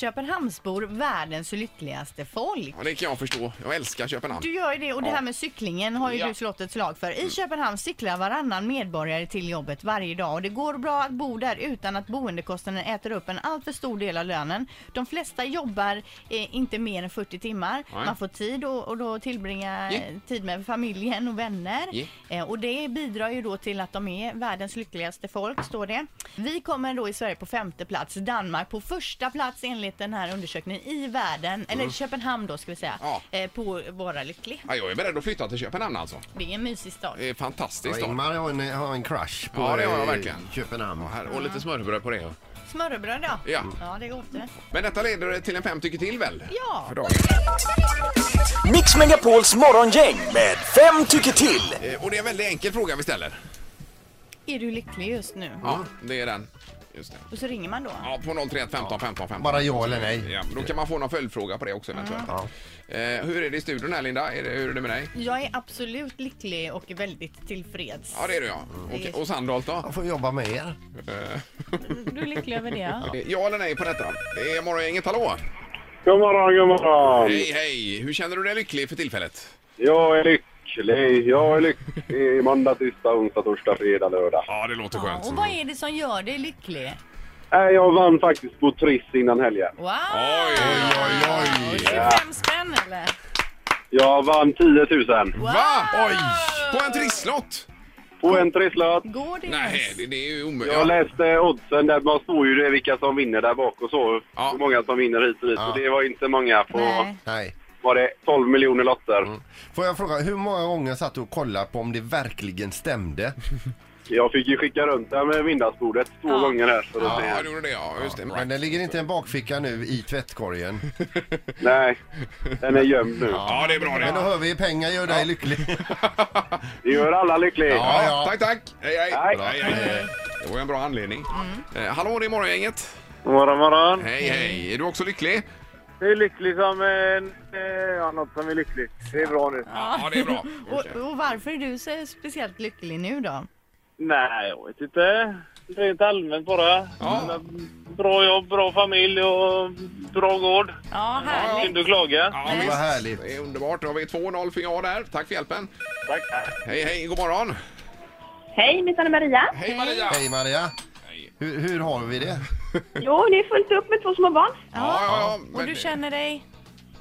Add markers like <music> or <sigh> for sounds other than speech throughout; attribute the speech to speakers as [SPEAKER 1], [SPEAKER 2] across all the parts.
[SPEAKER 1] Köpenhamnsbor världens lyckligaste folk.
[SPEAKER 2] Ja, det kan jag förstå. Jag älskar Köpenhamn.
[SPEAKER 1] Du gör ju det och det
[SPEAKER 2] Ja.
[SPEAKER 1] här med cyklingen har ju
[SPEAKER 2] Ja. Mm.
[SPEAKER 1] du slått ett slag för. I Köpenhamn cyklar varannan medborgare till jobbet varje dag och det går bra att bo där utan att boendekostnaden äter upp en alltför stor del av lönen. De flesta jobbar eh, inte mer än 40 timmar.
[SPEAKER 2] Nej.
[SPEAKER 1] Man får tid och, och då tillbringa
[SPEAKER 2] Ja.
[SPEAKER 1] eh, tid med familjen och vänner.
[SPEAKER 2] Ja.
[SPEAKER 1] Eh, och det bidrar ju då till att de är världens lyckligaste folk, står det. Vi kommer då i Sverige på femte plats, Danmark på första plats enligt den här undersökningen i världen,
[SPEAKER 2] Mm.
[SPEAKER 1] eller Köpenhamn då ska vi säga,
[SPEAKER 2] Ja.
[SPEAKER 1] eh, på att vara lycklig.
[SPEAKER 2] Ja, jag är beredd att flytta till Köpenhamn alltså.
[SPEAKER 1] Det är en mysig stad.
[SPEAKER 2] Det är
[SPEAKER 3] Ja,
[SPEAKER 2] fantastiskt. Ja,
[SPEAKER 3] Ingmar har en, har en crush på
[SPEAKER 2] Ja, det har jag
[SPEAKER 3] eh,
[SPEAKER 2] verkligen.
[SPEAKER 3] Köpenhamn.
[SPEAKER 2] här, och lite smörbröd på det.
[SPEAKER 1] Smörrebröd då?
[SPEAKER 2] Ja.
[SPEAKER 1] Ja, det är gott det.
[SPEAKER 2] Men detta leder till en fem tycker till väl?
[SPEAKER 1] Ja.
[SPEAKER 2] För dagen.
[SPEAKER 4] Mix Megapols morgongäng med fem tycker till.
[SPEAKER 2] Eh, Och det är en väldigt enkel fråga vi ställer.
[SPEAKER 1] Är du lycklig just nu?
[SPEAKER 2] Ja, det är den. Just det.
[SPEAKER 1] Och så ringer man då.
[SPEAKER 2] Ja, på 031 15 15 15.
[SPEAKER 3] Bara ja eller nej.
[SPEAKER 2] Ja, då kan man få någon följdfråga på det också eventuellt. Eh, hur är det i studion här Linda? Är det, hur är det med dig?
[SPEAKER 1] Jag är absolut lycklig och är väldigt tillfreds.
[SPEAKER 2] Ja, det är du ja. Och, och Sandholt då?
[SPEAKER 3] Jag får jobba med er.
[SPEAKER 1] Du är lycklig över det? ja?
[SPEAKER 2] Eh, Ja eller nej på detta? Det är morgongänget, hallå!
[SPEAKER 5] God morgon, god morgon.
[SPEAKER 2] Hej, hej! Hur känner du dig lycklig för tillfället?
[SPEAKER 5] Jag är lycklig. Jag är lycklig måndag, tisdag, onsdag, torsdag, fredag, lördag.
[SPEAKER 2] Ja, det låter
[SPEAKER 1] Ja,
[SPEAKER 2] skönt.
[SPEAKER 1] och vad är det som gör dig lycklig?
[SPEAKER 5] Nej, Jag vann faktiskt på Triss innan helgen.
[SPEAKER 1] Wow!
[SPEAKER 2] Oj, oj, oj!
[SPEAKER 1] 25 spänn eller?
[SPEAKER 5] Jag vann 10 000
[SPEAKER 1] Wow!
[SPEAKER 2] Va? Oj! På en trisslott?
[SPEAKER 5] på en trisslott.
[SPEAKER 1] Går det
[SPEAKER 2] Nej,
[SPEAKER 1] ens?
[SPEAKER 2] det, det är ju
[SPEAKER 5] Jag
[SPEAKER 2] omöjligt.
[SPEAKER 5] läste oddsen. Där man står ju det vilka som vinner där bak och så.
[SPEAKER 2] Ja.
[SPEAKER 5] Hur många som vinner hit och dit.
[SPEAKER 3] Ja.
[SPEAKER 5] Och det var inte många. På,
[SPEAKER 1] Nej.
[SPEAKER 3] Nej.
[SPEAKER 5] var det 12 miljoner lotter?
[SPEAKER 2] Mm.
[SPEAKER 3] Får jag fråga, hur många gånger satt du och kollade på om det
[SPEAKER 2] <laughs>
[SPEAKER 3] verkligen stämde?
[SPEAKER 5] Jag fick ju skicka runt det här med middagsbordet två
[SPEAKER 1] Ja.
[SPEAKER 5] gånger här. För att
[SPEAKER 2] Ja,
[SPEAKER 5] se.
[SPEAKER 2] du gjorde det ja. Just det.
[SPEAKER 3] Men
[SPEAKER 2] Right.
[SPEAKER 3] den ligger inte i en bakficka nu i
[SPEAKER 2] <laughs>
[SPEAKER 3] tvättkorgen.
[SPEAKER 5] Nej, den är gömd nu.
[SPEAKER 2] Ja, det är bra
[SPEAKER 3] Men då
[SPEAKER 2] det.
[SPEAKER 3] hör vi pengar gör
[SPEAKER 2] <laughs>
[SPEAKER 3] dig lycklig.
[SPEAKER 5] Det gör alla lyckliga.
[SPEAKER 3] Ja,
[SPEAKER 2] Ja,
[SPEAKER 3] ja.
[SPEAKER 2] tack, tack! Hej, hej!
[SPEAKER 5] Hej.
[SPEAKER 2] hej, hej. Det var ju en bra anledning.
[SPEAKER 1] Mm.
[SPEAKER 2] Eh, hallå, det är morgongänget.
[SPEAKER 5] God morgon, morgon.
[SPEAKER 2] Hej, hej! Är du också lycklig?
[SPEAKER 5] Jag är lycklig som en... eh, Ja, något som är lyckligt. Det är bra nu.
[SPEAKER 2] Ja, det
[SPEAKER 1] <laughs>
[SPEAKER 2] är bra.
[SPEAKER 1] Och, och varför är du så speciellt lycklig nu då?
[SPEAKER 5] Nej, jag vet inte. Rent allmänt bara.
[SPEAKER 2] Ja.
[SPEAKER 5] Bra jobb, bra familj och bra gård.
[SPEAKER 1] Ja,
[SPEAKER 5] Synd
[SPEAKER 1] härligt.
[SPEAKER 5] att klaga.
[SPEAKER 2] Ja, visst.
[SPEAKER 3] Vad härligt.
[SPEAKER 2] Det är underbart. Då har vi 2-0 för ja där. Tack för hjälpen.
[SPEAKER 5] Tack.
[SPEAKER 2] Hej, hej, god morgon.
[SPEAKER 6] Hej, mitt namn är Maria.
[SPEAKER 2] Hej Maria!
[SPEAKER 3] Hej Maria!
[SPEAKER 2] Hej.
[SPEAKER 3] Hur, hur har vi det?
[SPEAKER 6] Jo, ni är fullt upp med två små barn.
[SPEAKER 2] Ja, ja, ja.
[SPEAKER 1] Och du känner dig?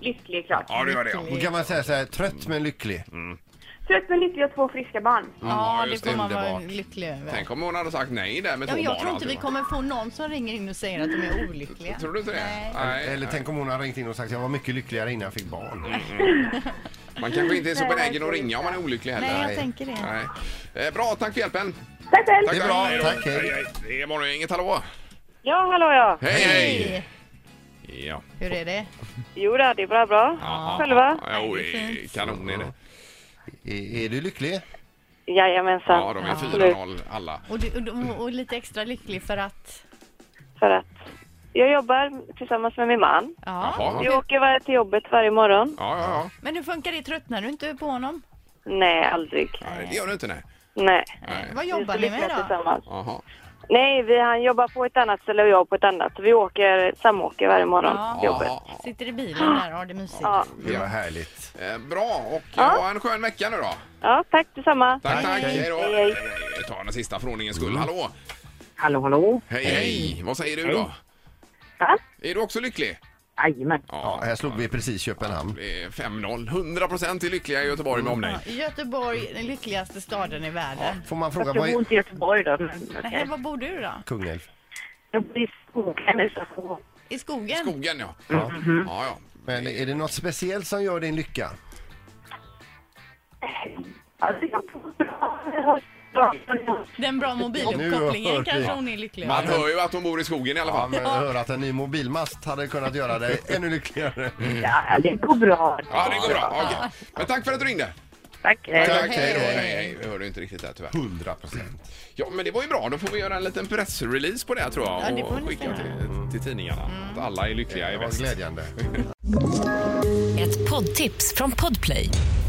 [SPEAKER 6] Lycklig, klart.
[SPEAKER 2] Ja, det gör det. ja.
[SPEAKER 3] Då kan man säga så här, trött men lycklig.
[SPEAKER 2] Mm.
[SPEAKER 6] Trött men lycklig och två friska barn.
[SPEAKER 1] Ja, det
[SPEAKER 2] just
[SPEAKER 1] får
[SPEAKER 2] det.
[SPEAKER 1] man vara
[SPEAKER 3] Underbart.
[SPEAKER 1] lycklig över.
[SPEAKER 2] Tänk om hon hade sagt nej där med
[SPEAKER 1] Ja,
[SPEAKER 2] två
[SPEAKER 1] men
[SPEAKER 2] barn.
[SPEAKER 1] jag tror inte
[SPEAKER 2] och
[SPEAKER 1] vi
[SPEAKER 2] alltihop.
[SPEAKER 1] kommer få någon som ringer in och säger att de är olyckliga.
[SPEAKER 2] Tror du inte det?
[SPEAKER 1] Nej.
[SPEAKER 3] Eller
[SPEAKER 2] Nej.
[SPEAKER 3] tänk om hon har ringt in och sagt jag var mycket lyckligare innan jag
[SPEAKER 2] Mm.
[SPEAKER 3] fick barn.
[SPEAKER 2] Man kanske inte är så
[SPEAKER 6] Nej,
[SPEAKER 2] benägen att
[SPEAKER 6] verkligen
[SPEAKER 2] ringa om man är olycklig heller.
[SPEAKER 1] Nej, jag
[SPEAKER 3] Nej.
[SPEAKER 1] tänker det.
[SPEAKER 2] Nej. Eh, Bra, tack för hjälpen.
[SPEAKER 6] Tack själv!
[SPEAKER 3] Det är bra.
[SPEAKER 2] Hej då.
[SPEAKER 3] Tack, hej.
[SPEAKER 2] hej. Det är morgongänget, hallå.
[SPEAKER 6] Ja, hallå ja.
[SPEAKER 2] Hej, hej. Ja.
[SPEAKER 1] Hur är det?
[SPEAKER 6] Jo då, det är bra, bra.
[SPEAKER 2] Ja.
[SPEAKER 6] Själva?
[SPEAKER 2] Ja, Jo,
[SPEAKER 1] det är
[SPEAKER 2] det är
[SPEAKER 1] fint.
[SPEAKER 2] kanon är det.
[SPEAKER 3] Är, är du lycklig?
[SPEAKER 6] Jajamensan.
[SPEAKER 2] Ja, de är
[SPEAKER 6] Absolut.
[SPEAKER 2] 4-0 alla.
[SPEAKER 1] Och, du, och, du- och lite extra lycklig för att...
[SPEAKER 6] För att jag jobbar tillsammans med min man.
[SPEAKER 1] Ja.
[SPEAKER 2] Jaha.
[SPEAKER 6] Vi
[SPEAKER 2] Ja,
[SPEAKER 6] åker var- till jobbet varje morgon.
[SPEAKER 2] ja, ja.
[SPEAKER 1] Men hur funkar det? Tröttnar du inte på honom?
[SPEAKER 6] Nej, aldrig.
[SPEAKER 2] Nej, Det gör du inte, nej.
[SPEAKER 6] Nej.
[SPEAKER 2] Nej.
[SPEAKER 1] Vad
[SPEAKER 6] Vi är
[SPEAKER 1] jobbar
[SPEAKER 6] så
[SPEAKER 1] ni med
[SPEAKER 6] lyckliga
[SPEAKER 1] då?
[SPEAKER 6] tillsammans.
[SPEAKER 2] Jaha.
[SPEAKER 6] Nej, vi, han jobbar på ett annat ställe och jag på ett annat. Så vi åker, samåker varje morgon
[SPEAKER 1] Ja.
[SPEAKER 6] till jobbet.
[SPEAKER 2] Jaha.
[SPEAKER 1] Sitter i bilen där och har det mysigt.
[SPEAKER 6] Ja.
[SPEAKER 3] Det var härligt.
[SPEAKER 2] Eh, Bra, och ha en skön vecka nu då.
[SPEAKER 6] ja, tack detsamma.
[SPEAKER 2] Tack, tack.
[SPEAKER 1] Hej.
[SPEAKER 2] Hej då.
[SPEAKER 6] Hej, hej.
[SPEAKER 2] Vi tar den sista för ordningens skull. Hallå!
[SPEAKER 7] Hallå, hallå?
[SPEAKER 2] Hej, hej. Vad säger du då?
[SPEAKER 7] Ja?
[SPEAKER 2] Är du också lycklig?
[SPEAKER 7] Jajamän.
[SPEAKER 3] Ja, här slog vi precis Köpenhamn.
[SPEAKER 2] Det är 5-0. 100% är lyckliga i Göteborg med omnejd.
[SPEAKER 1] Göteborg, den lyckligaste staden i världen.
[SPEAKER 3] Får man fråga
[SPEAKER 7] Fast
[SPEAKER 3] vad
[SPEAKER 7] jag bor
[SPEAKER 3] är
[SPEAKER 7] inte i Göteborg då. Men,
[SPEAKER 1] Nej, var bor du då?
[SPEAKER 3] Kungälv?
[SPEAKER 7] Jag bor i skogen utanför.
[SPEAKER 1] I skogen?
[SPEAKER 2] Skogen, ja.
[SPEAKER 3] Mm.
[SPEAKER 2] Ja, ja.
[SPEAKER 3] Men är det något speciellt som gör din lycka?
[SPEAKER 7] Alltså, jag bor bra. Jag har bra.
[SPEAKER 1] Den bra mobiluppkopplingen
[SPEAKER 3] hört det.
[SPEAKER 1] kanske hon är lycklig
[SPEAKER 2] Man
[SPEAKER 1] över.
[SPEAKER 2] hör ju att hon bor i skogen i alla
[SPEAKER 3] Ja,
[SPEAKER 2] fall.
[SPEAKER 3] men jag hör att en ny mobilmast hade kunnat göra dig ännu lyckligare.
[SPEAKER 7] Ja, det går bra.
[SPEAKER 2] Ja, det går bra. Okej. Men tack för att du ringde.
[SPEAKER 7] Tack. hej.
[SPEAKER 3] Tack,
[SPEAKER 2] Hej då.
[SPEAKER 3] hej
[SPEAKER 2] Hej, hej. Jag hörde inte riktigt där tyvärr.
[SPEAKER 3] 100 procent.
[SPEAKER 2] Ja, men det var ju bra. Då får vi göra en liten pressrelease på det här, tror jag.
[SPEAKER 1] Ja, det får
[SPEAKER 2] och
[SPEAKER 1] ni
[SPEAKER 2] skicka
[SPEAKER 1] göra. Mm.
[SPEAKER 2] till, till tidningarna. Att alla är lyckliga i
[SPEAKER 3] Det var
[SPEAKER 2] väst.
[SPEAKER 3] glädjande.
[SPEAKER 8] Ett poddtips från Podplay.